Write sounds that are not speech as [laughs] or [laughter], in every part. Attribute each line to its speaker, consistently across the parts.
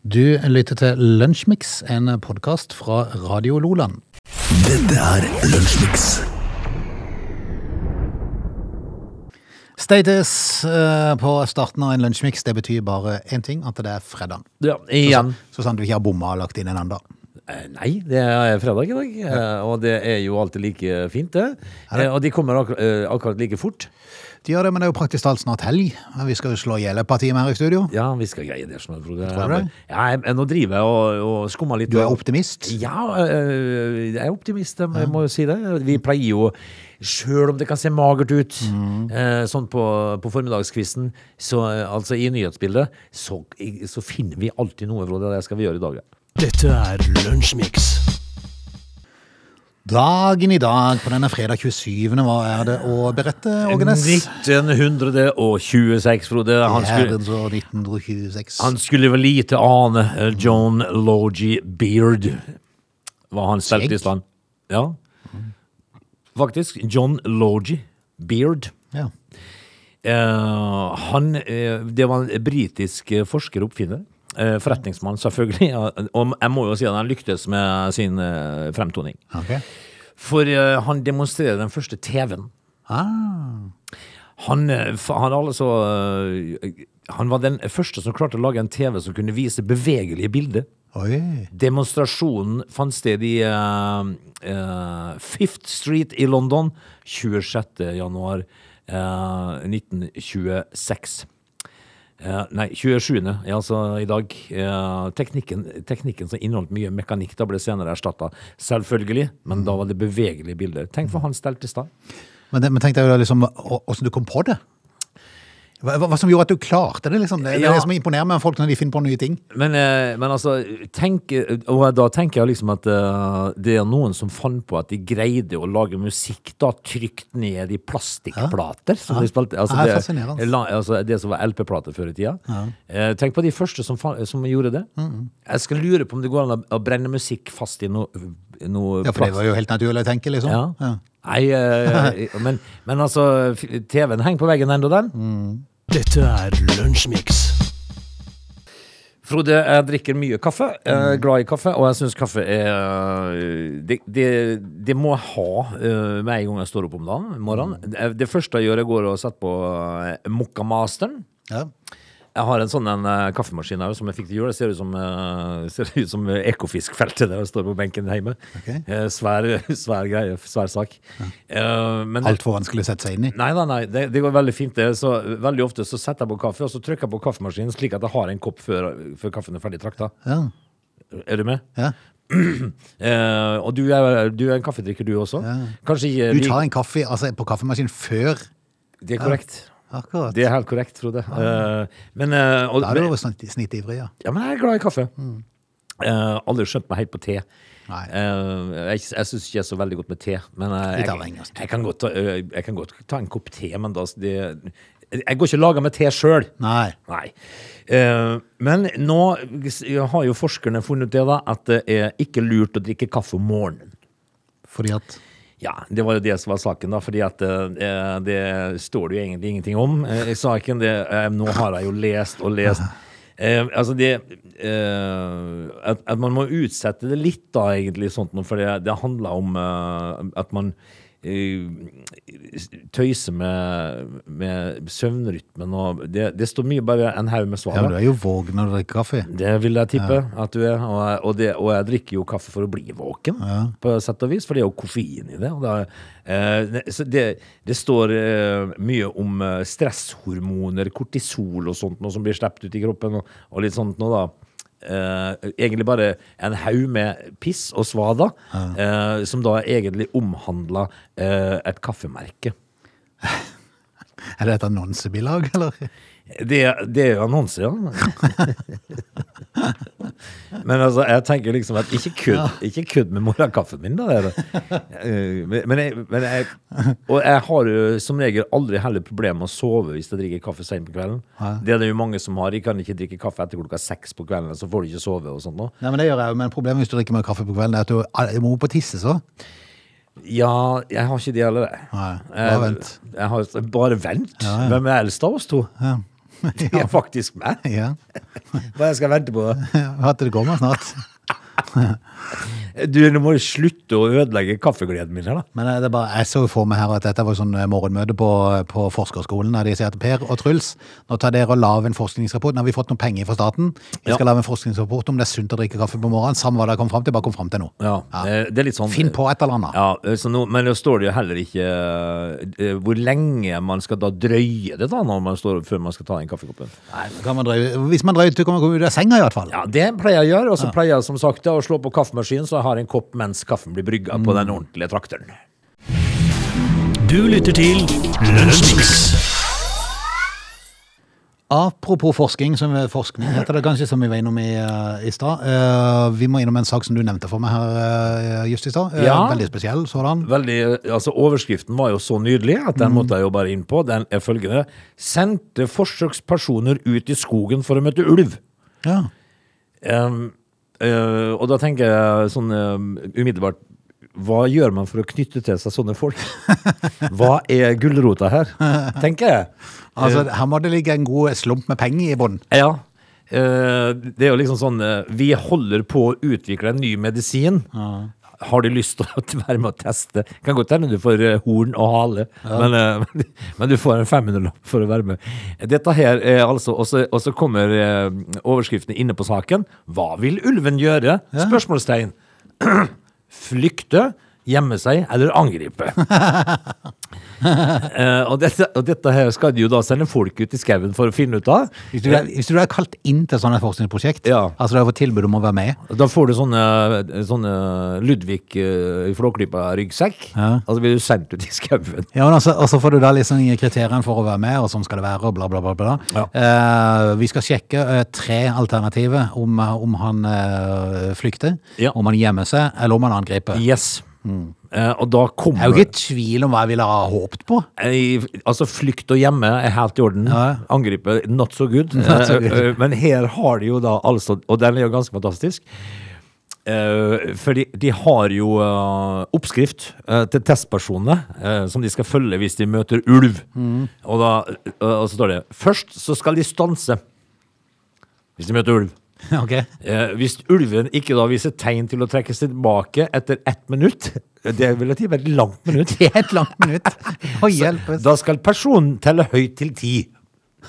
Speaker 1: Du lytter til Lunsjmix, en podkast fra Radio Loland.
Speaker 2: Dette er Lunsjmix.
Speaker 1: Status eh, på starten av en lunsjmix, det betyr bare én ting, at det er fredag.
Speaker 3: Ja, igjen.
Speaker 1: Så sant du ikke har bomma og lagt inn en annen.
Speaker 3: Altså, Eh, Nei, det er fredag i dag, eh, og det er jo alltid like fint, det. Eh, Og de kommer akkur eh, akkurat like fort.
Speaker 1: De gjør det, men det er jo praktisk talt snart helg. og Vi skal jo slå i hjel et parti med her i studio.
Speaker 3: Ja, vi skal greie det. Sånn, Frode.
Speaker 1: Tror du det?
Speaker 3: Ja, jeg- jeg- nå driver jeg og, og skummer litt.
Speaker 1: Du er optimist.
Speaker 3: Ja, eh, jeg er optimist, jeg må jo si det. Vi pleier jo, sjøl om det kan se magert ut,
Speaker 1: Mm.
Speaker 3: eh, sånn på, på formiddagskvisten, så eh, altså i nyhetsbildet, så, så finner vi alltid noe, Frode. Det skal vi gjøre i dag. ja.
Speaker 2: Dette er Lunsjmix.
Speaker 1: Dagen i dag på denne fredag 27. Hva er det å berette, Ågenes?
Speaker 3: 1926, Frode. Han skulle,
Speaker 1: Herrens år 1926.
Speaker 3: Han skulle vel lite ane eh, John Logie Beard Hva han stelte i
Speaker 1: Skjegg?
Speaker 3: stand Ja Faktisk, John Logie Beard
Speaker 1: Ja.
Speaker 3: Eh, Han, eh, det var en britisk eh, forsker og oppfinner eh, Forretningsmann selvfølgelig ja, Og jeg må jo si at han lyktes med sin eh, fremtoning
Speaker 1: ok.
Speaker 3: For eh, han demonstrerer den første TV-en
Speaker 1: Ah,
Speaker 3: han, eh, fa- han, altså, eh, han var den første som klarte å lage en TV som kunne vise bevegelige bilder.
Speaker 1: oi.
Speaker 3: Demonstrasjonen fant sted i eh, eh, Fifth Street i London 26. januar eh, 1926. Eh, nei, 27. Ja, altså i dag. Eh, teknikken, teknikken som inneholdt mye mekanikk, da ble senere erstatta. Selvfølgelig, men da var det bevegelige bilder. Tenk for han stelte i stand.
Speaker 1: Men, det, men tenk deg jo da liksom, å- åssen du kom på det. Hva, hva hva som gjorde at du klarte det? liksom? Det, det er
Speaker 3: Ja.
Speaker 1: det som imponerer med folk når de finner på nye ting.
Speaker 3: Men, eh, men altså, tenk, og da tenker jeg liksom at eh, det er noen som fant på at de greide å lage musikk da, trykt ned i plastikkplater. Som de spilte. Altså,
Speaker 1: Ja, det er
Speaker 3: det,
Speaker 1: fascinerende.
Speaker 3: la- altså, det som var LP-plater før i tida. Eh, tenk på de første som, fa- som gjorde det.
Speaker 1: Mm,
Speaker 3: Jeg skal lure på om det går an å, å brenne musikk fast i noe, noe
Speaker 1: Ja, for det var jo helt naturlig å tenke, liksom.
Speaker 3: ja.
Speaker 1: Ja.
Speaker 3: Nei,
Speaker 1: [laughs]
Speaker 3: eh, men, men altså, f- TV-en henger på veggen ennå, den.
Speaker 2: Dette er Lunsjmix.
Speaker 3: Frode, jeg drikker mye kaffe. Jeg er glad i kaffe, og jeg syns kaffe er eh, det, det, det må jeg ha eh, med en gang jeg står opp om dagen. morgenen. Det- Det første jeg gjør, jeg går og setter på eh, Mokkamasteren.
Speaker 1: Ja.
Speaker 3: Jeg har en sånn en, eh, kaffemaskin her som jeg fikk til jul. Det ser ut som, eh, [laughs] ser ut som eh, Ekofiskfeltet der jeg står på benken hjemme.
Speaker 1: Ok.
Speaker 3: Eh, svær, [laughs] svær greie, svær sak. Eh, men-
Speaker 1: Altfor vanskelig å sette seg inn i.
Speaker 3: Nei, nei, nei, det, det går veldig fint. Det. Så, veldig ofte så setter jeg på kaffe, og så trykker jeg på kaffemaskinen slik at jeg har en kopp før, før kaffen er ferdig trakta.
Speaker 1: Ja.
Speaker 3: Er du med?
Speaker 1: Ja.
Speaker 3: Eh, og du er, du er en kaffedrikker, du også? Kanskje ikke
Speaker 1: Du
Speaker 3: like-
Speaker 1: tar en kaffe altså, på kaffemaskinen før
Speaker 3: Det er korrekt.
Speaker 1: Akkurat.
Speaker 3: Det er helt korrekt, Frode. Eh, men, eh, og,
Speaker 1: Da er du Mm. jo snitt- snittivrig, ja.
Speaker 3: ja, men jeg er glad i kaffe. Eh, aldri skjønt meg helt på te.
Speaker 1: Nei.
Speaker 3: Eh, jeg jeg syns ikke jeg er så veldig godt med te. Men eh,
Speaker 1: Litt
Speaker 3: jeg,
Speaker 1: avhengig, altså.
Speaker 3: jeg, kan godt ta, eh, jeg kan godt ta en kopp te, men da det, Jeg går ikke og lager meg te sjøl.
Speaker 1: Nei.
Speaker 3: Nei. Eh, men nå har jo forskerne funnet ut det, da, at det er ikke lurt å drikke kaffe om morgenen.
Speaker 1: Fordi at
Speaker 3: Ja, det var jo det som var saken, da, fordi at eh, det står det jo egentlig ingenting om eh, i saken. Det, eh, nå har jeg jo lest og lest. Eh, altså det eh, at, at man må utsette det litt, da, egentlig, sånt noe, for det, det handler om eh, at man eh, tøyser med, med søvnrytmen og det, det står mye bare en haug med svar.
Speaker 1: Ja,
Speaker 3: da.
Speaker 1: men du er jo våken når du drikker kaffe.
Speaker 3: Det vil jeg tippe at du er. Og jeg, og, det, og jeg drikker jo kaffe for å bli våken, på sett og vis, for det er jo koffein i det. Og da, eh, ne- så det, det står eh, mye om eh, stresshormoner, kortisol og sånt noe som blir sluppet ut i kroppen, og, og litt sånt noe, da. Eh, egentlig bare en haug med piss og svada, eh, som da egentlig omhandla eh, et kaffemerke.
Speaker 1: Er det et annonsebilag, eller?
Speaker 3: Det, det er jo annonse, ja. Men altså, jeg tenker liksom at ikke kødd, ikke kødd med morgenkaffen min, da. Er det. Eh, Men, men jeg, men jeg, og jeg har jo som regel aldri heller problemer med å sove hvis jeg drikker kaffe sent på kvelden. Det er det jo mange som har. De kan ikke drikke kaffe etter klokka seks på kvelden, så får de ikke sove og sånt noe.
Speaker 1: Nei, men Det gjør jeg jo, men problemet hvis du drikker mer kaffe på kvelden, er at du ah, må opp og tisse, så.
Speaker 3: Ja, jeg har ikke det heller, jeg.
Speaker 1: Nei, bare vent.
Speaker 3: Jeg, jeg har, bare vent? Hvem er eldst av oss to?
Speaker 1: [laughs] Ja.
Speaker 3: Det er faktisk meg.
Speaker 1: Ja.
Speaker 3: Hva jeg skal vente på?
Speaker 1: At det kommer snart.
Speaker 3: Du, nå må du slutte å ødelegge kaffegleden min her, da.
Speaker 1: Men eh, det er bare, jeg så jo for meg her at dette var sånn eh, morgenmøte på, på forskerskolen, der de sier at Per og Truls, nå tar dere og lager en forskningsrapport. Nå har vi fått noen penger fra staten. Vi
Speaker 3: Ja.
Speaker 1: skal lage en forskningsrapport om det er sunt å drikke kaffe på morgenen. Samme hva dere kom fram til, bare kom fram til noe.
Speaker 3: Ja, eh, Det er litt sånn
Speaker 1: Finn på et eller annet.
Speaker 3: Ja, eh, så nå, men nå står det jo heller ikke eh, hvor lenge man skal da drøye det da, når man står, før man skal ta den kaffekoppen.
Speaker 1: Nei, da kan man drøye, hvis man drøyer, så kan man komme ut av senga i hvert fall.
Speaker 3: Ja, det pleier jeg å gjøre, og så pleier jeg som sagt da, å slå på kaffemaskinen, så jeg har en kopp mens kaffen blir brygga på den ordentlige trakteren.
Speaker 2: Du lytter til Lunsjmix.
Speaker 1: Apropos forskning, som, forskning heter det kanskje, som vi var innom i, eh, i stad. Eh, vi må innom en sak som du nevnte for meg her eh, just i stad. Eh,
Speaker 3: Ja.
Speaker 1: Veldig spesiell sådan.
Speaker 3: Veldig, altså Overskriften var jo så nydelig at den måtte jeg jo bare inn på. Den er følgende. Sendte forsøkspersoner ut i skogen for å møte ulv.
Speaker 1: Ja.
Speaker 3: Ehm, eh, og da tenker jeg sånn eh, umiddelbart Hva gjør man for å knytte til seg sånne folk? Hva er gulrota her? Tenker jeg.
Speaker 1: Altså,
Speaker 3: Eh.
Speaker 1: her må det ligge en god slump med penger i bunnen.
Speaker 3: Ja. eh, det er jo liksom sånn eh, Vi holder på å utvikle en ny medisin. Har du lyst til å [laughs] være med å teste? Kan godt hende du får eh, horn og hale, men, eh, [laughs] men, men du får en 500-lapp for å være med. Dette her er altså Og så og så kommer eh, overskriftene inne på saken. Hva vil ulven gjøre? Spørsmålstegn. [clears throat] Flykte, gjemme seg eller
Speaker 1: [laughs]
Speaker 3: angripe? Eh, og, dette, og dette her skal de jo da sende folk ut i skauen for å finne ut av.
Speaker 1: Hvis du, er, hvis du er kalt inn til sånne forskningsprosjekt,
Speaker 3: Ja.
Speaker 1: altså du har fått tilbud om å være med,
Speaker 3: Da får du sånne, sånne Ludvig eh, i Flåklypa-ryggsekk.
Speaker 1: Ja.
Speaker 3: Og så blir du sendt ut i skauen.
Speaker 1: ja, men altså, og så får du da liksom kriteriene for å være med, og sånn skal det være, og bla bla bla. bla.
Speaker 3: Ja.
Speaker 1: Eh, vi skal sjekke eh, tre alternativer om, eh, om han eh, flykter,
Speaker 3: Ja.
Speaker 1: om han gjemmer seg, eller om han angriper.
Speaker 3: Yes. Eh, og da
Speaker 1: Jeg er
Speaker 3: kommer
Speaker 1: jo ikke i tvil om hva jeg ville ha håpet på. [laughs]
Speaker 3: Eh, Altså, flykt og hjemme er helt i orden.
Speaker 1: Ja.
Speaker 3: Angripe, not so good.
Speaker 1: [laughs] Not so good.
Speaker 3: Eh, eh, Men her har de jo da altså Og den er jo ganske fantastisk. Eh, for de, de har jo eh, oppskrift eh, til testpersonene eh, som de skal følge hvis de møter ulv.
Speaker 1: Mm.
Speaker 3: Og, da, eh, og så står det Først så skal de stanse hvis de møter ulv.
Speaker 1: Ok.
Speaker 3: Eh, hvis ulven ikke da viser tegn til å trekke seg tilbake etter ett minutt [laughs] Det vil jeg si var et langt minutt.
Speaker 1: Det er et langt
Speaker 3: [laughs]
Speaker 1: minutt. Å hjelpes.
Speaker 3: Da skal personen telle høyt til ti.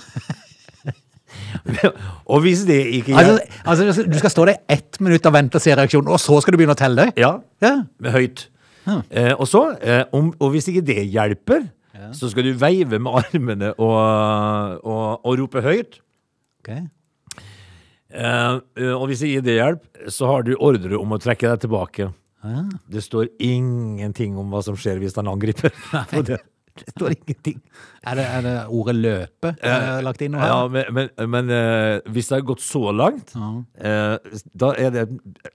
Speaker 3: [laughs] og hvis det ikke gjør
Speaker 1: Altså, altså, du skal stå der i ett minutt og vente og se reaksjonen, og så skal du begynne å telle deg?
Speaker 3: Ja,
Speaker 1: Ja.
Speaker 3: med høyt. Eh, og så, eh, om, og hvis ikke det hjelper, så skal du veive med armene og, og, og rope høyt.
Speaker 1: Ok.
Speaker 3: Eh, eh, og hvis det gir det hjelp, så har du ordre om å trekke deg tilbake. Det står ingenting om hva som skjer hvis han angriper. [laughs] Og det, det står ingenting.
Speaker 1: Er det, er det ordet løpe eh, lagt inn nå her?
Speaker 3: Ja, men men, men eh, hvis det har gått så langt, eh, da er det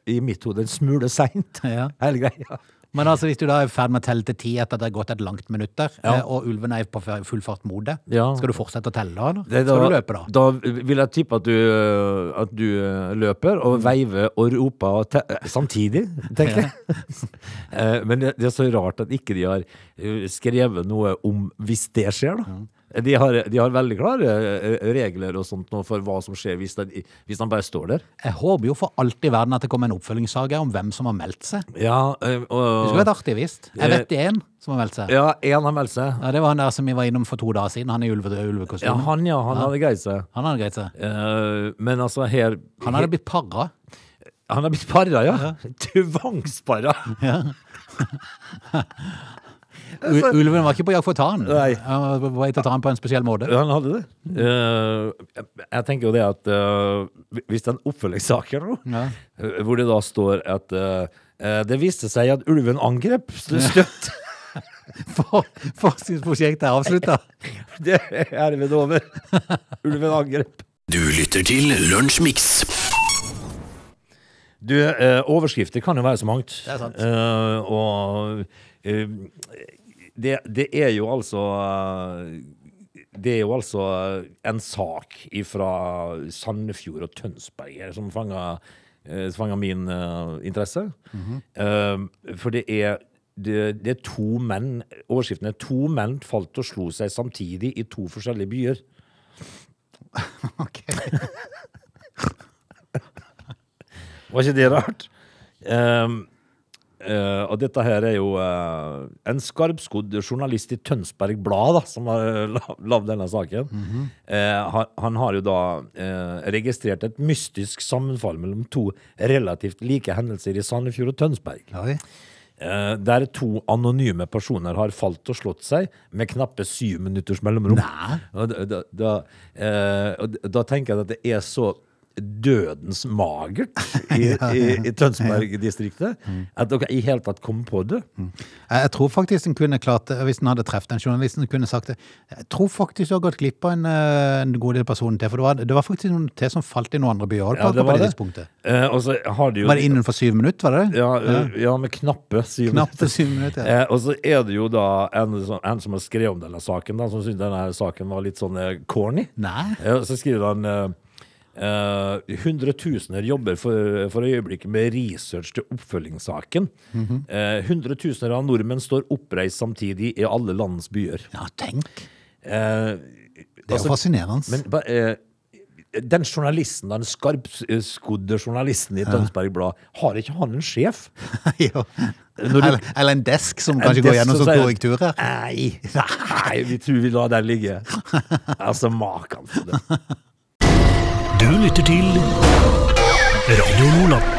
Speaker 3: i mitt hode en smule [laughs] seint,
Speaker 1: Ja.
Speaker 3: hele greia.
Speaker 1: Men altså, hvis du da er i ferd med å telle til ti etter at det har gått et langt minutt der,
Speaker 3: Ja.
Speaker 1: eh, og ulven er på fe- full fart mot deg,
Speaker 3: Ja.
Speaker 1: skal du fortsette å telle da, eller?
Speaker 3: Det er
Speaker 1: Skal du løpe da?
Speaker 3: Da vil jeg tippe at du, eh, at du eh, løper og veiver og roper og te eh, samtidig, tenker jeg. [laughs] Eh, Men det det er så rart at ikke de har eh, skrevet noe om hvis det skjer, da. De har, de har veldig klare eh, regler og sånt nå for hva som skjer hvis den, hvis den bare står der.
Speaker 1: Jeg håper jo for alt i verden at det kommer en oppfølgingssaga om hvem som har meldt seg. Det
Speaker 3: Ja, eh,
Speaker 1: skulle
Speaker 3: og,
Speaker 1: vært artig, visst. Jeg vet én som har meldt seg.
Speaker 3: ja en har meldt seg.
Speaker 1: Ja, det var han der som vi var innom for to dager siden, han i ulve,
Speaker 3: Ja,
Speaker 1: ulvekostyme.
Speaker 3: han ja, han hadde greid seg.
Speaker 1: Han hadde greit seg.
Speaker 3: Eh, men altså her
Speaker 1: Han hadde blitt para.
Speaker 3: han har blitt para, ja. [laughs] Tvangspara.
Speaker 1: U ulven var ikke på jakt for å ta han.
Speaker 3: Nei.
Speaker 1: Han var på vei til å ta han på en spesiell måte.
Speaker 3: Han hadde det. Eh, jeg- jeg tenker jo det at eh, hvis den oppfølgingssaken nå,
Speaker 1: Ja.
Speaker 3: eh, hvor det da står at eh, eh, det viste seg at ulven angrep stø- støtt.
Speaker 1: For forskningsprosjektet er
Speaker 3: [laughs]
Speaker 1: avslutta.
Speaker 3: Det er herved over. Ulven angrep.
Speaker 2: Du lytter til Lunsjmix.
Speaker 3: Du, eh, overskrifter kan jo være så mangt.
Speaker 1: Det er sant.
Speaker 3: Eh, og eh, det, det er jo altså eh, Det er jo altså eh, en sak fra Sandefjord og Tønsberg her som fanga eh, som fanga min eh, interesse. Eh, for det er det, det er to menn Overskriften er 'To menn falt og slo seg samtidig i to forskjellige byer'.
Speaker 1: Ok.
Speaker 3: Var ikke det rart? Ehm, eh, og dette her er jo eh, en skarpskodd journalist i Tønsberg Blad da, som har uh, lagd denne saken. Eh, han, han har jo da eh, registrert et mystisk sammenfall mellom to relativt like hendelser i Sandefjord og Tønsberg.
Speaker 1: Oi.
Speaker 3: Eh, der to anonyme personer har falt og slått seg med knappe syv minutters mellomrom. Og Da, da, da, eh, og da- da tenker jeg at det er så dødens magert
Speaker 1: [laughs]
Speaker 3: i, i, i Tønsberg-distriktet
Speaker 1: Mm.
Speaker 3: at dere i hele tatt kom på det.
Speaker 1: Jeg jeg tror faktisk den kunne klart det, hvis den hadde treffet den journalisten, så kunne den sagt det. Jeg tror faktisk du har gått glipp av en, eh, en god del personer til, for det var, det var faktisk noen til som falt i noen andre
Speaker 3: Ja,
Speaker 1: byholdparker
Speaker 3: det
Speaker 1: på
Speaker 3: var
Speaker 1: det
Speaker 3: det.
Speaker 1: tidspunktet.
Speaker 3: Eh, og så har de jo
Speaker 1: Var det innenfor syv minutter, var det det?
Speaker 3: ja, eh, ja, med knappe syv
Speaker 1: Knapt syv minutter. ja.
Speaker 3: Eh, og så er det jo da en, som- en som har skrevet om denne saken, da, som syntes denne saken var litt sånn eh, corny.
Speaker 1: Nei.
Speaker 3: Ja, og så skriver han eh, eh, Hundretusener jobber for, for øyeblikket med research til oppfølgingssaken.
Speaker 1: Mhm.
Speaker 3: Eh, Hundretusener av nordmenn står oppreist samtidig i alle landets byer.
Speaker 1: Ja, tenk.
Speaker 3: Eh,
Speaker 1: Det er
Speaker 3: altså,
Speaker 1: jo fascinerende. [laughs]
Speaker 3: men ba- eh, den journalisten, den skarpskodde journalisten i Tønsberg Blad, har ikke han en sjef?
Speaker 1: Jo.
Speaker 3: Når du-
Speaker 1: eller, eller en desk som kanskje går
Speaker 3: Desk
Speaker 1: gjennom
Speaker 3: som
Speaker 1: som
Speaker 3: sier-
Speaker 1: korrekturer.
Speaker 3: Nei, [laughs] nei, vi tror vi lar den
Speaker 1: [laughs]
Speaker 3: ligge. Altså, maken for det.
Speaker 2: Du lytter til Radio Nordland.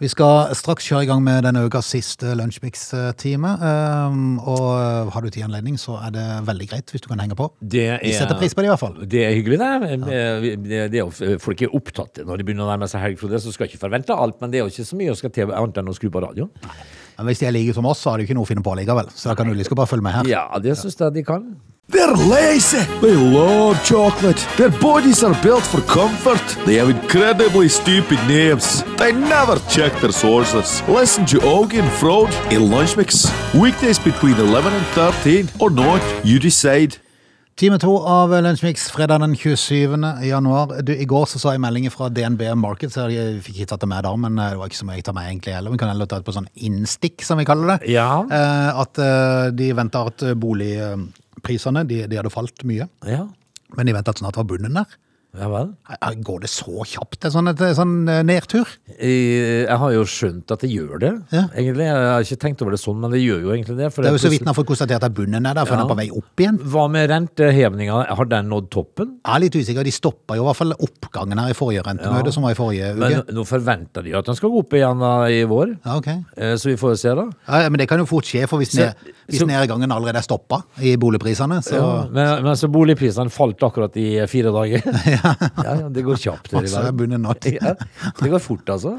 Speaker 1: Vi skal straks kjøre i gang med denne ukas siste Lunsjmix-time. ehm, Og har du tid og anledning, så er det veldig greit hvis du kan henge på.
Speaker 3: Det er,
Speaker 1: Vi setter pris på det i hvert fall.
Speaker 3: Det er hyggelig, det. det. det er jo, folk er opptatt når de begynner å nærme seg helg, Frode, så skal jeg ikke forvente alt. Men det er jo ikke så mye å skal til annet enn å skru på radioen.
Speaker 1: Men hvis de er like som oss, så har de ikke noe å finne på likevel. Så da kan du like godt bare følge med her.
Speaker 3: Ja, det syns jeg de kan.
Speaker 4: They're lazy. They love chocolate. Their bodies are built for comfort. They have incredibly stupid names. They never check their sources. Listen to Augie and Frode in Lunch Mix. Weekdays between 11 and 13 or not, you decide.
Speaker 1: Time to av Lunsjmix fredag den 27. januar. Du, I går så så jeg meldinger fra DNB Markets. Jeg fikk ikke tatt det med der, men eh, det var ikke så mye jeg tar med egentlig heller. Vi kan heller ta det på sånn innstikk, som vi kaller det.
Speaker 3: Ja.
Speaker 1: Eh, At eh, de venter at boligprisene de, de hadde falt mye,
Speaker 3: Ja,
Speaker 1: men de venter at sånn at det var bunnen der.
Speaker 3: ja vel.
Speaker 1: Eh, Går det så kjapt, en sånn, en sånn eh, nedtur?
Speaker 3: Eh, Jeg har jo skjønt at det gjør det,
Speaker 1: Ja.
Speaker 3: egentlig. Jeg har ikke tenkt over det sånn, men det gjør jo egentlig det. for
Speaker 1: Det er jo så
Speaker 3: plutselig-
Speaker 1: vidt man får konstatert at bunnen er der, for
Speaker 3: Ja.
Speaker 1: den er på vei opp igjen.
Speaker 3: Hva med rentehevninga? Har den nådd toppen?
Speaker 1: Jeg er litt usikker. De stoppa jo i hvert fall oppgangen her i forrige rentemøte, som var i forrige uke.
Speaker 3: Men nå forventer de at den skal gå opp igjen da, i vår,
Speaker 1: ja, ok.
Speaker 3: Eh, så vi får se, da.
Speaker 1: Ja, men det kan jo fort skje, for hvis,
Speaker 3: Så-
Speaker 1: ned, hvis
Speaker 3: så-
Speaker 1: nedgangen allerede er stoppa i boligprisene, så
Speaker 3: Ja, men, men så boligprisene falt akkurat i
Speaker 1: [laughs]
Speaker 3: fire dager. Ja, ja det går kjapt. her i
Speaker 1: Og så er
Speaker 3: verden.
Speaker 1: bunnen nådd.
Speaker 3: Ja, det går fort, altså.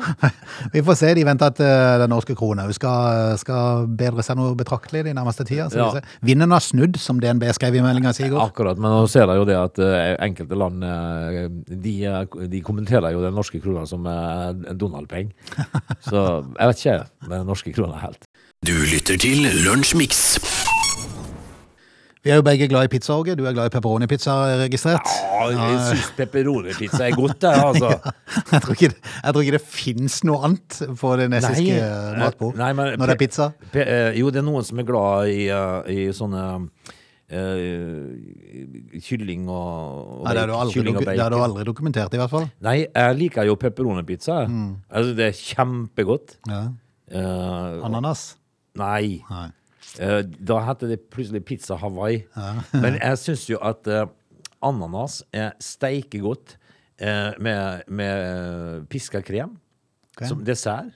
Speaker 1: Vi får se. De venter at eh, den norske krona jo skal, skal bedre seg noe betraktelig de nærmeste tida. Så
Speaker 3: Ja.
Speaker 1: vi ser. Vinden har snudd, som DNB skrev i meldinga si i går.
Speaker 3: Akkurat, men nå ser jeg jo det at eh, enkelte land eh, de, eh, de kommenterer jo den norske krona som eh, en Donald-peng. Så jeg vet ikke med den norske krona helt.
Speaker 2: Du lytter til Lunsjmix.
Speaker 1: Vi er jo begge glad i pizza, Åge. Du er glad i pepperoni-pizza, har jeg registrert.
Speaker 3: jeg syns pepperoni-pizza er godt, det, altså.
Speaker 1: [laughs] Jeg tror ikke det, jeg tror ikke det fins noe annet på det nesiske
Speaker 3: eh,
Speaker 1: matbord
Speaker 3: nei, men
Speaker 1: når det
Speaker 3: pe-
Speaker 1: er pizza.
Speaker 3: Pe eh, jo, det er noen som er glad i, eh, i sånne eh, kylling og, og
Speaker 1: Nei, det har du
Speaker 3: bacon.
Speaker 1: aldri,
Speaker 3: Kylling og
Speaker 1: doku- det har du
Speaker 3: bacon.
Speaker 1: aldri dokumentert, i hvert fall.
Speaker 3: Nei, jeg liker jo pepperoni-pizza. jeg.
Speaker 1: Mm.
Speaker 3: Altså, det er kjempegodt.
Speaker 1: Ja.
Speaker 3: Eh,
Speaker 1: Ananas.
Speaker 3: nei.
Speaker 1: Nei.
Speaker 3: Eh, da heter det plutselig pizza Hawaii.
Speaker 1: [laughs]
Speaker 3: Men jeg syns jo at eh, ananas er steikegodt eh, med, med piska krem
Speaker 1: Ok.
Speaker 3: som dessert.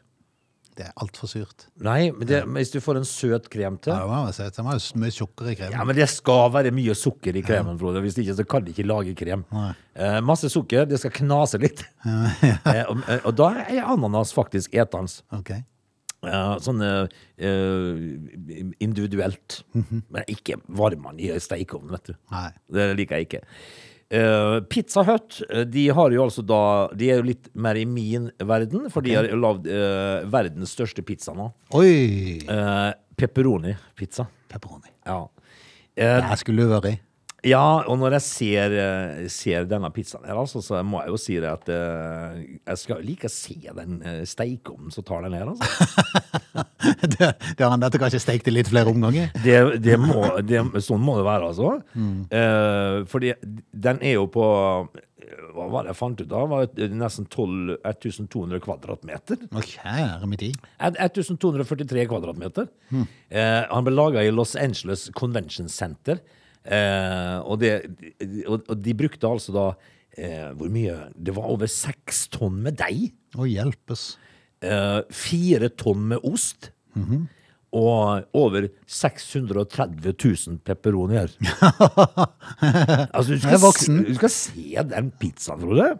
Speaker 1: Det er altfor surt.
Speaker 3: Nei, men det, men hvis du får en søt krem til
Speaker 1: Ja, det må jeg si. Det var jo mye tjukkere i kremen.
Speaker 3: Ja, men det skal være mye sukker i kremen, Frode. Hvis ikke, så kan de ikke lage krem.
Speaker 1: Nei.
Speaker 3: Eh, masse sukker, det skal knase
Speaker 1: [laughs]
Speaker 3: litt. eh, og, og da er ananas faktisk etende.
Speaker 1: Ok.
Speaker 3: Eh, sånn eh, eh, individuelt. Men ikke varmen i steikeovnen, vet du.
Speaker 1: Nei.
Speaker 3: Det liker jeg ikke. Eh, Pizza Hut eh, de, har jo altså da, de er jo litt mer i min verden, for de har jo lagd eh, verdens største pizza nå.
Speaker 1: Oi!
Speaker 3: Eh, Pepperoni-pizza.
Speaker 1: Pepperoni.
Speaker 3: Ja. Eh,
Speaker 1: Det skulle du vært i.
Speaker 3: Ja, og når jeg ser, eh, ser denne pizzaen her, altså, så må jeg jo si det at eh, jeg skal like å se den eh, steikeovnen som tar den her, altså.
Speaker 1: [laughs] det, det har han dette kanskje stekt i litt flere omganger.
Speaker 3: Det, det må, det, sånn må det være, altså. Eh, fordi den er jo på Hva var det jeg fant ut av? Det var eh, Nesten 12, 1200 kvadratmeter.
Speaker 1: Å, kjære min tid.
Speaker 3: Et- 1243 kvadratmeter. Eh, han ble laga i Los Angeles Convention Center. Eh, og, det, og, og de brukte altså da eh, Hvor mye? Det var over seks tonn med deig.
Speaker 1: Å, hjelpes.
Speaker 3: Eh, fire tonn med ost. Og over 630 000
Speaker 1: [laughs]
Speaker 3: pepperonier. altså, du
Speaker 1: Jeg er
Speaker 3: skal, se,
Speaker 1: voksen.
Speaker 3: du skal se den pizzaen, Frode.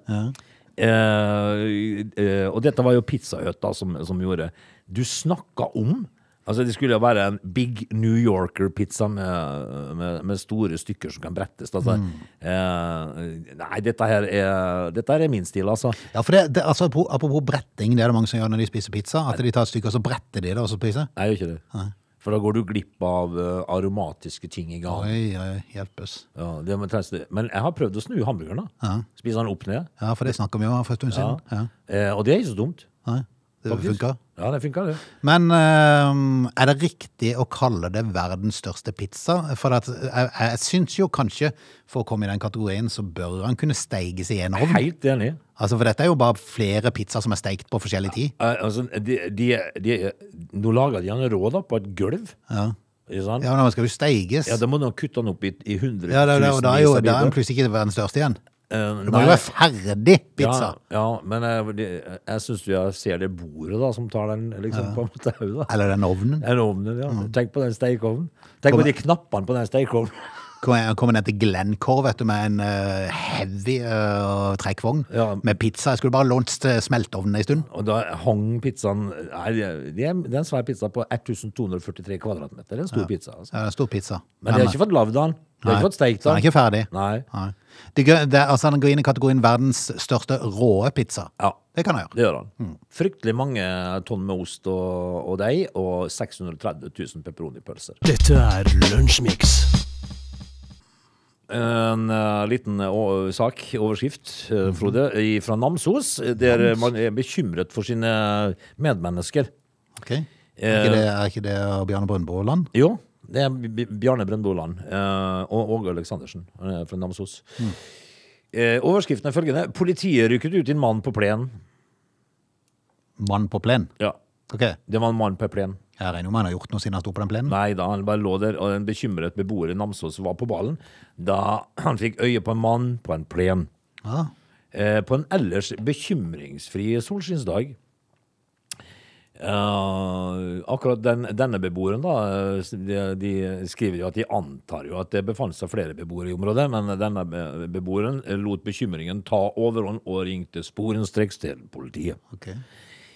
Speaker 3: Eh, eh, og dette var jo Pizzahøtta som, som gjorde Du snakka om Altså Det skulle jo være en Big New Yorker-pizza med, med, med store stykker som kan brettes. Altså.
Speaker 1: Mm.
Speaker 3: Eh, nei, dette her er, dette her er min stil, altså.
Speaker 1: Ja, for det, det, altså, apro- Apropos bretting, det er det mange som gjør når de spiser pizza. At de tar et stykke og så bretter de det, og så spiser.
Speaker 3: Nei, jeg gjør ikke det. For da går du glipp av eh, aromatiske ting i gang.
Speaker 1: Oi, oi, hjelpes.
Speaker 3: Ja, det må trengs det. Men jeg har prøvd å snu hamburgeren. da. Spise den opp ned.
Speaker 1: Ja, for det snakka vi om her for en stund
Speaker 3: Ja.
Speaker 1: siden. Ja.
Speaker 3: Eh, og det er ikke så dumt.
Speaker 1: Nei, det
Speaker 3: faktisk.
Speaker 1: funka.
Speaker 3: Ja, det funka, det.
Speaker 1: Men eh, er det riktig å kalle det verdens største pizza? For at, jeg, jeg syns jo kanskje, for å komme i den kategorien, så bør han kunne steiges i en ovn.
Speaker 3: Helt enig.
Speaker 1: Altså, for dette er jo bare flere pizzaer som er steikt på forskjellig tid.
Speaker 3: Eh, altså, de, de, de, nå lager de den rå da, på et gulv.
Speaker 1: Ja,
Speaker 3: Ikke sant?
Speaker 1: ja men den skal jo steiges.
Speaker 3: Ja, Da må du kutte den opp i, i hundretusenvis
Speaker 1: Ja, det, er det, og da er jo
Speaker 3: av
Speaker 1: da er den
Speaker 3: biter.
Speaker 1: plutselig ikke verdens største igjen.
Speaker 3: Eh,
Speaker 1: Det må
Speaker 3: nei.
Speaker 1: jo være ferdig pizza.
Speaker 3: Ja, ja men jeg, de, jeg syns jeg ser det bordet da, som tar den liksom, på en måte [laughs] òg, da.
Speaker 1: Eller den ovnen.
Speaker 3: Den ovnen, ja. Tenk på den stekeovnen. Tenk på de knappene på den stekeovnen.
Speaker 1: Kommer jeg- kommer ned til Glencore vet du, med en eh, heavy eh, trekkvogn
Speaker 3: Ja.
Speaker 1: med pizza. Jeg skulle bare lånt eh, smelteovnen en stund.
Speaker 3: Og da hang pizzaen Nei, det er det er en svær pizza på 1243 kvadratmeter. Det er en stor pizza. Altså.
Speaker 1: Ja, det er stor pizza.
Speaker 3: Men de har ikke fått lagd den. De har
Speaker 1: Nei,
Speaker 3: ikke fått steikt
Speaker 1: så den er ikke ferdig.
Speaker 3: Nei.
Speaker 1: Nei. Det, gø- det, altså, den går inn i kategorien verdens største råe pizza.
Speaker 3: Ja,
Speaker 1: Det kan jeg gjøre.
Speaker 3: det gjør han.
Speaker 1: Mm.
Speaker 3: Fryktelig mange tonn med ost og, og deig, og 630 000 pepperonipølser.
Speaker 2: Dette er Lunsjmix.
Speaker 3: En eh, liten eh, å- sak, overskrift, eh,
Speaker 1: Mhm.
Speaker 3: Frode, i- fra Namsos, eh, der eh, man er bekymret for sine medmennesker.
Speaker 1: Ok. Er
Speaker 3: Eh.
Speaker 1: ikke det, er ikke det Bjarne Brøndbo Land?
Speaker 3: Jo, det er B- B- Bjarne Brøndboland eh, og Åge Aleksandersen han er fra Namsos. Eh, overskriften er følgende. Politiet rykket ut en mann på plenen.
Speaker 1: Mann på plen?
Speaker 3: Ja.
Speaker 1: Ok. Jeg
Speaker 3: Det var en mann på plenen.
Speaker 1: regner jo med han har gjort noe siden han sto på den plenen.
Speaker 3: Nei da, han bare lå der, og en bekymret beboer i Namsos var på ballen da han fikk øye på en mann på en plen.
Speaker 1: Ja.
Speaker 3: Eh, på en ellers bekymringsfri solskinnsdag. Eh, akkurat den, denne beboeren, da, eh, s- de, de skriver jo at de antar jo at det befant seg flere beboere i området, men denne be- beboeren eh, lot bekymringen ta overhånd og ringte sporenstreks til politiet.
Speaker 1: Ok.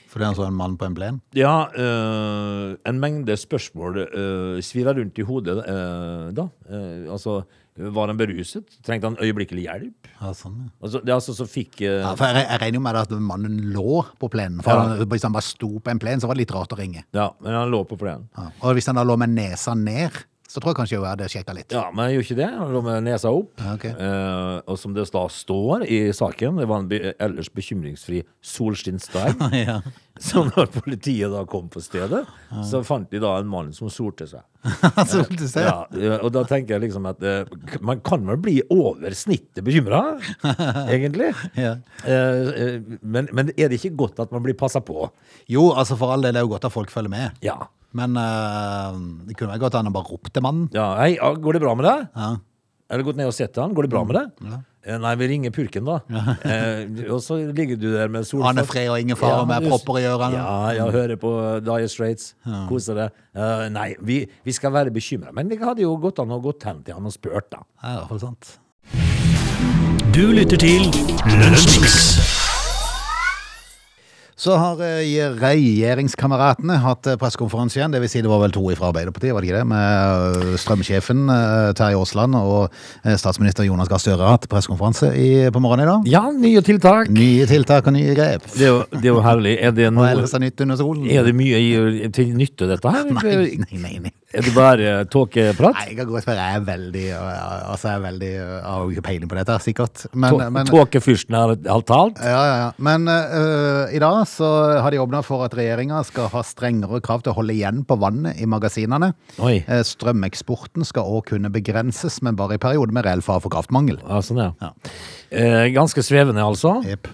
Speaker 1: Fordi han så altså en mann på en plen?
Speaker 3: Ja, eh, en mengde spørsmål uh, svirra rundt i hodet eh, da. Eh, altså, var han beruset? Trengte han øyeblikkelig hjelp?
Speaker 1: Ja, sånn, ja.
Speaker 3: Altså, det er altså så fikk eh,
Speaker 1: Ja, for jeg, jeg regner jo med at mannen lå på plenen. For
Speaker 3: Ja.
Speaker 1: han, Hvis han bare sto på en plen, så var det litt rart å ringe.
Speaker 3: Ja, men han lå på plenen.
Speaker 1: Ja. Og hvis han da lå med nesa ned, så tror jeg kanskje jeg hadde sjekka
Speaker 3: [laughs]
Speaker 1: litt.
Speaker 3: Ja, men han gjorde ikke det. Han lå med nesa opp.
Speaker 1: Ja, Ah, ok.
Speaker 3: Eh, og som det da står i saken, det var en be ellers bekymringsfri
Speaker 1: [laughs]
Speaker 3: solskinnsdag.
Speaker 1: Ja.
Speaker 3: så når politiet da kom på stedet, så fant de da en mann som solte seg.
Speaker 1: så du ser.
Speaker 3: Ja, eh, og da tenker jeg liksom at eh, k- man kan vel bli over snittet bekymra,
Speaker 1: [laughs]
Speaker 3: egentlig.
Speaker 1: Ja.
Speaker 3: Eh, eh, men, men er det ikke godt at man blir passa på?
Speaker 1: Jo, altså for all del, det er jo godt at folk følger med.
Speaker 3: Ja.
Speaker 1: Men eh, det kunne vært godt at han bare ropte mannen.
Speaker 3: ja. Hei, ah, går det bra med deg?
Speaker 1: Ja.
Speaker 3: Eller gått ned og sett han? Går det bra med deg? Eh, Nei, vi ringer purken, da. eh, og så ligger du der med solfakk.
Speaker 1: Anne Fred og ingen fare med
Speaker 3: du-
Speaker 1: propper i ørene.
Speaker 3: Ja, ja, hører på eh, Dire Straits. Koser deg. Eh, nei, vi, vi skal være bekymra. Men det hadde jo gått an å gått hen til han og spurt, da.
Speaker 1: Ja, i hvert fall sant.
Speaker 2: Du lytter til Lunsjmix.
Speaker 1: Så har eh, regjeringskameratene hatt eh, pressekonferanse igjen. Det vil si det var vel to fra Arbeiderpartiet, var det ikke det? Med eh, strømsjefen eh, Terje Aasland og eh, statsminister Jonas Gahr Støre har hatt pressekonferanse i- på morgenen i dag.
Speaker 3: Ja, nye tiltak.
Speaker 1: Nye tiltak og nye grep.
Speaker 3: Det er jo, det er jo herlig. Er det,
Speaker 1: Og
Speaker 3: noe,
Speaker 1: ellers er nytt under solen.
Speaker 3: er det mye i- til nytte, dette her?
Speaker 1: Nei, nei, nei. nei.
Speaker 3: Er det bare
Speaker 1: Nei,
Speaker 3: tåkeprat?
Speaker 1: jeg kan godt være jeg er veldig øh, Altså, jeg er veldig øh, Jeg har jo ikke peiling på dette, her, sikkert. Men, eh,
Speaker 3: Tå-
Speaker 1: men
Speaker 3: Tåkefyrsten har, har talt?
Speaker 1: ja, ja, ja. Men øh, i dag så har de åpna for at regjeringa skal ha strengere krav til å holde igjen på vannet i magasinene.
Speaker 3: Oi.
Speaker 1: Eh, Strømeksporten skal òg kunne begrenses, men bare i perioder med reell fare for kraftmangel.
Speaker 3: Ja, sånn, ja. Eh, ganske svevende, altså.
Speaker 1: Jep.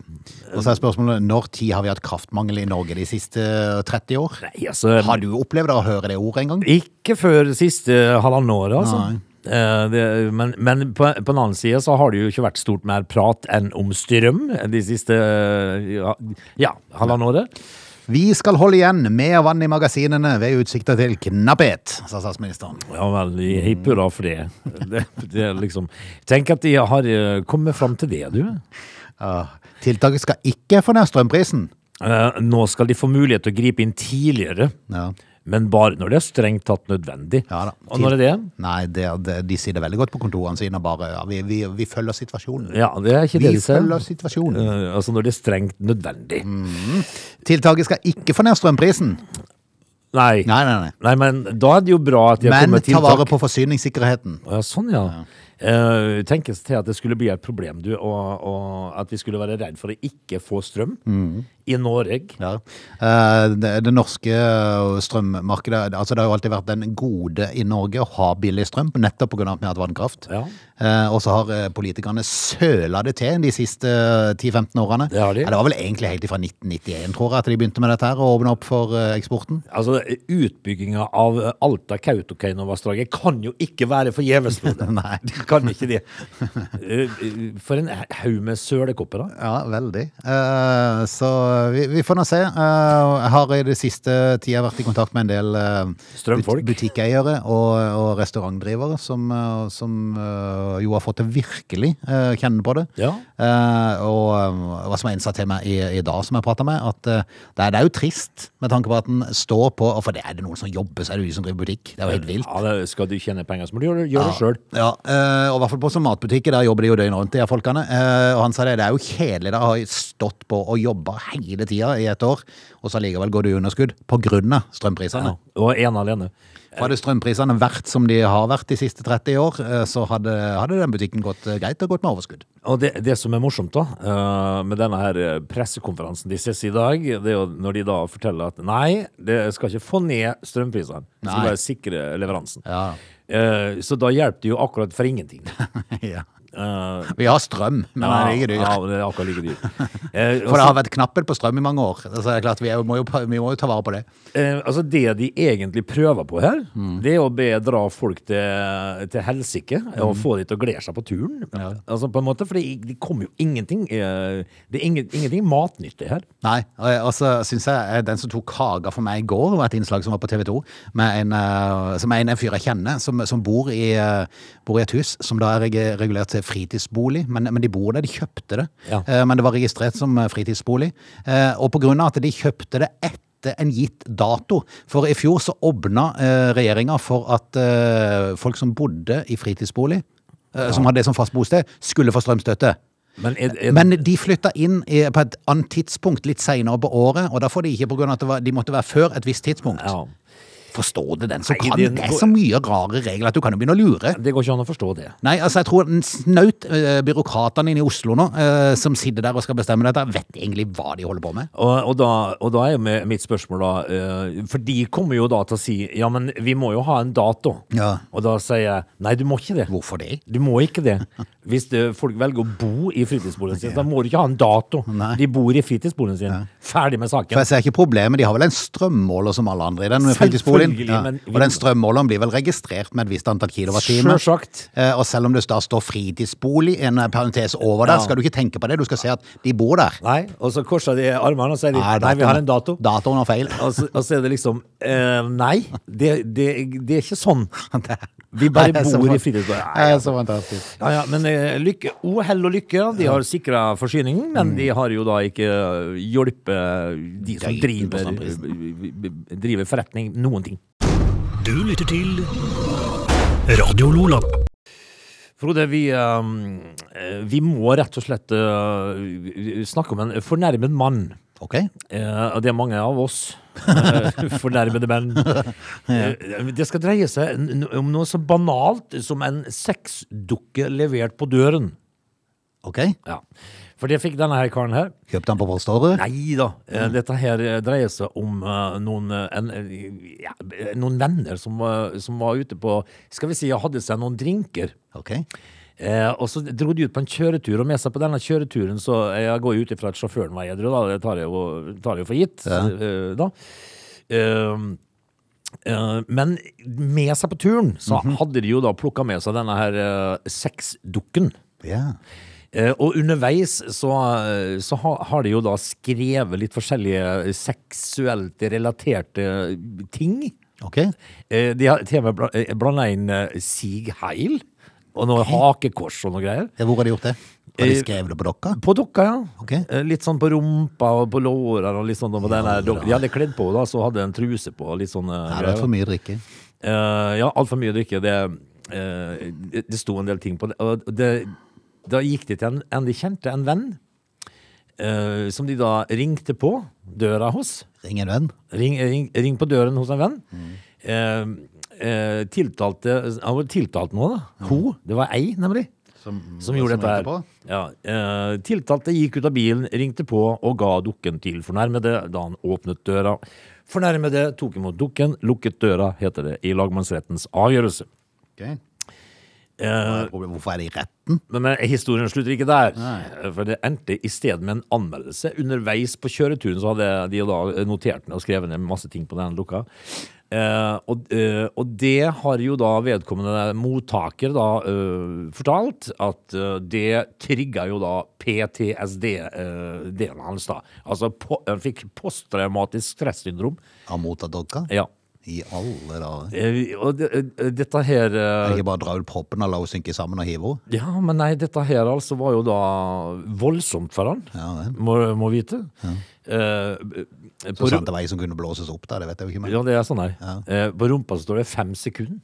Speaker 1: Og så er spørsmålet når tid har vi hatt kraftmangel i Norge de siste 30 år?
Speaker 3: Nei, altså,
Speaker 1: Har du opplevd å høre det ordet en gang?
Speaker 3: Ikke før det siste halvannet året, altså. Eh, Det, men men på, på den annen side så har det jo ikke vært stort mer prat enn om strøm de siste ja, ja halvannet året.
Speaker 1: Vi skal holde igjen mer vann i magasinene ved utsikter til knapphet, sa statsministeren.
Speaker 3: Ja vel, hipp hurra for det. [laughs] det, det er liksom, tenk at de har eh, kommet fram til det, du.
Speaker 1: Ja. Tiltaket skal ikke få ned strømprisen.
Speaker 3: Eh, Nå skal de få mulighet til å gripe inn tidligere,
Speaker 1: Ja.
Speaker 3: men bare når det er strengt tatt nødvendig.
Speaker 1: Ja da.
Speaker 3: Og når er det?
Speaker 1: Nei, det, det, de sier det veldig godt på kontorene sine. Bare ja, vi, vi, vi følger situasjonen.
Speaker 3: Ja, det er ikke
Speaker 1: Vi
Speaker 3: det de sier.
Speaker 1: følger situasjonen.
Speaker 3: Eh, Altså når det er strengt nødvendig.
Speaker 1: Mm. Tiltaket skal ikke få ned strømprisen.
Speaker 3: Nei.
Speaker 1: Nei, nei, nei.
Speaker 3: Nei, men da er det jo bra at de har
Speaker 1: Men
Speaker 3: kommet
Speaker 1: ta
Speaker 3: tiltak.
Speaker 1: vare på forsyningssikkerheten.
Speaker 3: Ja, sånn ja. Eh, tenkes til at det skulle bli et problem, du, og, og at vi skulle være redd for å ikke få strøm
Speaker 1: Mm.
Speaker 3: i Norge.
Speaker 1: Ja. Eh, Det, det norske eh, strømmarkedet altså Det har jo alltid vært den gode i Norge å ha billig strøm, nettopp pga. at vi har hatt vannkraft.
Speaker 3: Ja.
Speaker 1: Eh, Og så har eh, politikerne søla det til de siste eh, 10-15 årene.
Speaker 3: Det har de.
Speaker 1: Ja, det var vel egentlig helt fra 1991, tror jeg, at de begynte med dette her og åpna opp for eh, eksporten.
Speaker 3: Altså, utbygginga av Alta-Kautokeino-vassdraget kan jo ikke være forgjeves,
Speaker 1: [laughs]
Speaker 3: Frode.
Speaker 1: Nei.
Speaker 3: Det Kan ikke det. Eh, eh, For en haug med sølekopper, da.
Speaker 1: Ja, veldig. Eh, Så vi, vi får nå se. Eh, Jeg har i det siste tida vært i kontakt med en del eh,
Speaker 3: Strømfolk.
Speaker 1: but- butikkeiere og, og restaurantdrivere som, eh, som eh, jo har fått det virkelig eh, kjenne på det.
Speaker 3: Ja.
Speaker 1: Eh, og eh, hva som er innsatt til meg i, i dag, som jeg prata med, at eh, det, er, det er jo trist med tanke på at den står på og For det er det noen som jobber, så er det jo de som driver butikk. Det er jo helt vilt.
Speaker 3: Ja, det, skal du tjene penger, så må du gjøre, gjøre det sjøl.
Speaker 1: Ja, eh, og i hvert fall på sånne matbutikker, der jobber de jo døgnet rundt, de her folkene. Eh, Og han sa det, det er jo kjedelig, da har jeg stått på og jobba hele tida i et år, og så likevel går det i underskudd på grunn av strømprisene.
Speaker 3: Og ene alene.
Speaker 1: Hadde strømprisene vært som de har vært de siste 30 år, eh, så hadde, hadde den butikken gått eh, greit og gått med overskudd.
Speaker 3: Og det, det som er morsomt da, eh, med denne her eh, pressekonferansen de ses i dag, det er jo når de da forteller at nei, det skal ikke få ned strømprisene. Det
Speaker 1: Nei.
Speaker 3: skal bare sikre leveransen.
Speaker 1: Ja.
Speaker 3: Eh, Så da hjelper det jo akkurat for ingenting.
Speaker 1: [laughs] ja.
Speaker 3: Eh,
Speaker 1: Vi har strøm, men den er ikke dyr.
Speaker 3: Ja, det er akkurat like
Speaker 1: [laughs]
Speaker 3: dyr. Eh,
Speaker 1: For det
Speaker 3: altså-
Speaker 1: har vært knapphet på strøm i mange år. Så det er klart, vi, er jo, må, jo, vi må jo ta vare på det.
Speaker 3: Eh, altså Det de egentlig prøver på her,
Speaker 1: Mm.
Speaker 3: det er å bedra folk til, til helsike og
Speaker 1: Mm.
Speaker 3: få de til å glede seg på turen. Altså på en måte, For det, det kommer jo ingenting eh, Det er ingen, ingenting matnyttig her.
Speaker 1: Nei, og, og så syns jeg eh, den som tok kaka for meg i går, var et innslag som var på TV 2, med en, eh, som er en, en fyr jeg kjenner, som, som bor, i, eh, bor i et hus som da er reg- regulert til fritidsbolig, men, men de bor der, de kjøpte det.
Speaker 3: Ja.
Speaker 1: Eh, Men det var registrert som eh, fritidsbolig. Eh, Og på grunn av at de kjøpte det etter en gitt dato. For i fjor så åpna eh, regjeringa for at eh, folk som bodde i fritidsbolig, eh, som hadde det som fast bosted, skulle få strømstøtte.
Speaker 3: Men, er, er,
Speaker 1: Men de flytta inn i, på et annet tidspunkt litt seinere på året, og da får de ikke på grunn av at det var, de måtte være før et visst tidspunkt.
Speaker 3: ja,
Speaker 1: Forstår du den som
Speaker 3: Nei,
Speaker 1: kan?
Speaker 3: det-
Speaker 1: Det er så mye rare regler at du kan jo begynne å lure.
Speaker 3: Det går ikke an å forstå det.
Speaker 1: Nei, altså jeg tror den snaut eh, byråkratene inne i Oslo nå, eh, som sitter der og skal bestemme dette, vet egentlig hva de holder på med.
Speaker 3: Og, og, da, og da er jo mi- mitt spørsmål da eh, For de kommer jo da til å si Ja, men vi må jo ha en dato.
Speaker 1: Ja.
Speaker 3: Og da sier jeg nei, du må ikke det.
Speaker 1: Hvorfor det?
Speaker 3: Du må ikke det. Hvis det, folk velger å bo i fritidsboligen sin, da må du ikke ha en dato.
Speaker 1: Nei.
Speaker 3: De bor i fritidsboligen sin. Ferdig med
Speaker 1: For
Speaker 3: saken.
Speaker 1: jeg ser ikke problemet, de har vel en strømmåler som alle andre i den fritidsboligen.
Speaker 3: Selvfølgelig,
Speaker 1: Ja.
Speaker 3: men-
Speaker 1: Og den strømmåleren blir vel registrert med et visst antall kilowattimer.
Speaker 3: Sjølsagt.
Speaker 1: Eh, Og selv om det da står fritidsbolig, en eh, parentes over der,
Speaker 3: Ja.
Speaker 1: skal du ikke tenke på det, du skal se at de bor der.
Speaker 3: Nei, og så korser de armene og sier de, nei, vi har en dato.
Speaker 1: Datoen har feil.
Speaker 3: Og så, og så er [laughs] det liksom eh, Nei, det, det, det er ikke sånn. Vi
Speaker 1: [laughs]
Speaker 3: bare
Speaker 1: Nei, så
Speaker 3: bor i
Speaker 1: fan-
Speaker 3: fritidsboligen. Nei,
Speaker 1: Nei, altså, Så fantastisk.
Speaker 3: Ja, ja, men eh, lykke, ohell og lykke. De har sikra forsyningen, men de har jo da ikke eh, hjulpet eh, de som
Speaker 1: Driten på
Speaker 3: driver, eh, driver forretning, noen ting.
Speaker 2: Du lytter til Radio Lola.
Speaker 3: Frode, vi, eh, eh, vi må rett og slett eh, snakke om en fornærmet mann.
Speaker 1: Ok.
Speaker 3: Eh, og det er mange av oss. eh, [laughs] Fornærmede menn. Eh, Det skal dreie seg n- n- om noe så banalt som en sexdukke levert på døren.
Speaker 1: ok.
Speaker 3: Ja. For det fikk denne her karen her.
Speaker 1: Kjøpte han på Postordre?
Speaker 3: Nei da. eh, Dette her eh, dreier seg om eh, noen, eh, en, eh, ja, eh, noen venner som, eh, som var ute på Skal vi si hadde seg noen drinker.
Speaker 1: Ok.
Speaker 3: Eh, og så dro de ut på en kjøretur, og med seg på denne kjøreturen Så eh, jeg går jo ut ifra at sjåføren var edru, da. Det tar jeg jo, tar jeg jo for gitt. eh, da. Ehm, eh, men med seg på turen så hadde de jo da plukka med seg denne her eh, sexdukken.
Speaker 1: Ja.
Speaker 3: Eh, Og underveis så, så ha- har de jo da skrevet litt forskjellige eh, seksuelt relaterte eh, ting.
Speaker 1: Ok.
Speaker 3: Eh, De har til og med bla- eh, blanda inn eh, Sig Heil og noe hakekors og noe greier.
Speaker 1: Ja, Hvor har de gjort det? Har de
Speaker 3: Eh,
Speaker 1: skrevet det på dokka?
Speaker 3: På dokka, ja.
Speaker 1: Ok.
Speaker 3: Eh, Litt sånn på rumpa og på lårene og litt sånn. Og den der dokka. De hadde kledd på, da, så hadde en truse på. og Litt sånn eh,
Speaker 1: Nei, det
Speaker 3: greier.
Speaker 1: er for mye drikke.
Speaker 3: Eh, ja, altfor mye drikke. Det, eh, det, det sto en del ting på det. Og det da gikk de til en, en de kjente, en venn, eh, som de da ringte på døra hos.
Speaker 1: Ring en venn.
Speaker 3: Ring, ring, ring på døren hos en venn. Eh, eh, tiltalte Han var tiltalt nå, da. Ho. Det var ei, nemlig. Som, gjorde
Speaker 1: Mm, som
Speaker 3: dette
Speaker 1: ringte
Speaker 3: her. Ja, eh, tiltalte gikk ut av bilen, ringte på og ga dukken til fornærmede da han åpnet døra. Fornærmede tok imot dukken, lukket døra, heter det i lagmannsrettens avgjørelse.
Speaker 1: Okay.
Speaker 3: Eh,
Speaker 1: Hvorfor er det i retten?
Speaker 3: men, men historien slutter ikke der. For det endte i stedet med en anmeldelse. Underveis på kjøreturen så hadde de jo da eh, notert ned og skrevet ned masse ting på den lukka. Eh, og, eh, og det har jo da vedkommende mottaker da eh, fortalt, at eh, det trigga jo da PTSD-delen eh, hans, da. Altså po han fikk posttraumatisk stressyndrom.
Speaker 1: Har mottatt dokka?
Speaker 3: Ja.
Speaker 1: I alle dager.
Speaker 3: Eh, og det, eh, dette her eh,
Speaker 1: Er det ikke bare å dra ut proppen og la henne synke sammen og hive henne?
Speaker 3: Ja, men nei, dette her altså var jo da voldsomt for han,
Speaker 1: Ja, vel.
Speaker 3: må, må vite. Eh, på,
Speaker 1: Så
Speaker 3: ru-
Speaker 1: sant det var ei som kunne blåses opp der, det vet jeg jo ikke. Men
Speaker 3: ja, det er sånn her. Eh, på rumpa så står det fem sekunder.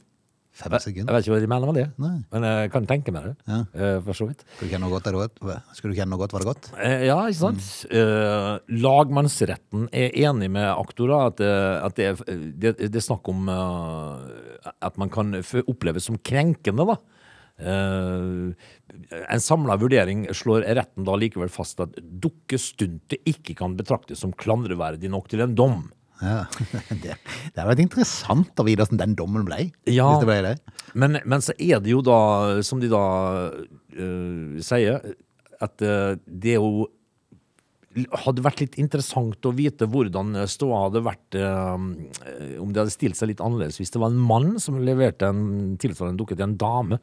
Speaker 1: fem
Speaker 3: Jeg
Speaker 1: sekunder? Hm.
Speaker 3: vet ikke hva de mener med det,
Speaker 1: Nei.
Speaker 3: men jeg kan tenke meg det. eh, for så vidt.
Speaker 1: Skulle du kjenne noe godt, er det godt? Skulle du kjenne noe godt, var det godt?
Speaker 3: Eh, ja, ikke sant? Eh, lagmannsretten er enig med aktora at, eh, at det, er, det, det er snakk om eh, at man kan f- oppleves som krenkende, da. Eh, en samla vurdering slår retten da likevel fast at dukkestuntet ikke kan betraktes som klandreverdig nok til en dom.
Speaker 1: Ja. [laughs] Det, det hadde vært interessant å vite hvordan den dommen ble.
Speaker 3: Ja.
Speaker 1: Hvis det ble det.
Speaker 3: Men, men så er det jo da, som de da eh, sier, at eh, det er jo hadde vært litt interessant å vite hvordan ståa hadde vært eh, om det hadde stilt seg litt annerledes hvis det var en mann som leverte en tilsvarende dukke til en dame.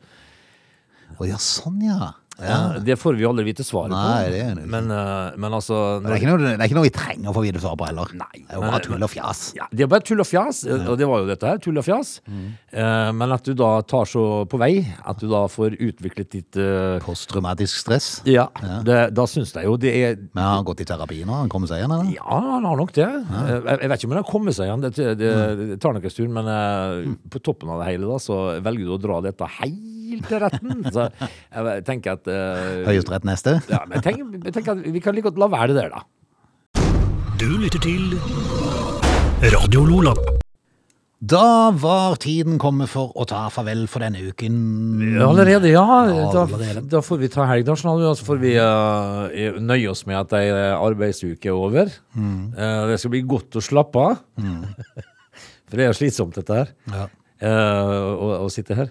Speaker 1: Å ja, sånn ja. ja.
Speaker 3: Det får vi jo aldri vite svaret
Speaker 1: Nei,
Speaker 3: på.
Speaker 1: det er det ikke.
Speaker 3: men, eh, men altså
Speaker 1: Men Det er, ikke noe, det er ikke noe vi trenger å få videre svar på heller.
Speaker 3: Nei.
Speaker 1: det er jo bare tull og fjas.
Speaker 3: ja, Det er bare tull og fjas, eh, og det var jo dette her, tull og fjas.
Speaker 1: Mm.
Speaker 3: Eh, men at du da tar så på vei, at du da får utviklet ditt eh,
Speaker 1: Posttraumatisk stress.
Speaker 3: Ja, det, da syns jeg jo det er
Speaker 1: Men har han gått i terapi nå? Han kommer seg igjen, eller?
Speaker 3: Ja, han har nok det. Eh, Jeg, jeg vet ikke om han har kommet seg igjen, det, det, det tar nok en stund. Men eh, på toppen av det hele da, så velger du å dra dette helt til [laughs] retten. Så jeg tenker at eh,
Speaker 1: Høyesterett neste?
Speaker 3: ja, men jeg tenker, jeg tenker at Vi kan like godt la være det der, da.
Speaker 2: Du lytter til Radio Lola.
Speaker 1: Da var tiden kommet for å ta farvel for denne uken.
Speaker 3: Allerede, ja.
Speaker 1: Ja,
Speaker 3: Da,
Speaker 1: allerede.
Speaker 3: da får vi ta helg, da. Sånn, og så får vi eh, nøye oss med at ei eh, arbeidsuke er over. Eh, det skal bli godt å slappe av. [laughs] For det er slitsomt, dette her.
Speaker 1: Ja.
Speaker 3: Eh, å, å sitte her.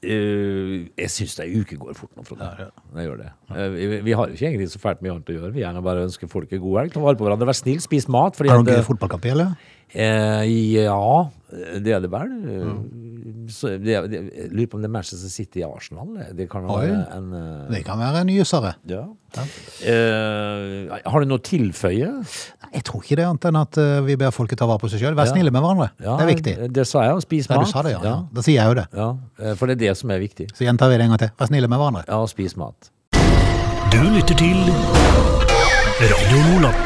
Speaker 3: Eh, jeg syns ei uke går fort nå, Frode. Det gjør det. Eh, vi, vi har jo ikke egentlig så fælt mye annet å gjøre. Vi gjerne bare ønsker folk en god helg. Ta vare på hverandre. Vær snill, spis mat. Fordi
Speaker 1: Er det
Speaker 3: at,
Speaker 1: noen
Speaker 3: eh,
Speaker 1: gøy fotballkamp, eller?
Speaker 3: Eh, ja, det er det vel. Eh,
Speaker 1: Mm.
Speaker 3: så, det- det- jeg lurer på om det er Manchester City i Arsenal. eh, det. Det kan jo
Speaker 1: Oi.
Speaker 3: være en eh,
Speaker 1: Det kan være en gysere.
Speaker 3: ja. Eh, har du noe å tilføye?
Speaker 1: Nei, Jeg tror ikke det, annet enn at eh, vi ber folket ta vare på seg sjøl. Vær
Speaker 3: Ja.
Speaker 1: snille med hverandre.
Speaker 3: Ja,
Speaker 1: Det er viktig.
Speaker 3: Det sa jeg. og Spis
Speaker 1: Ja,
Speaker 3: mat.
Speaker 1: du sa det, ja. ja. Da sier jeg jo det.
Speaker 3: Ja, eh, For det er det som er viktig.
Speaker 1: Så gjentar vi det en gang til. Vær snille med hverandre.
Speaker 3: Ja, spis mat.
Speaker 2: Du lytter til Radio Lola.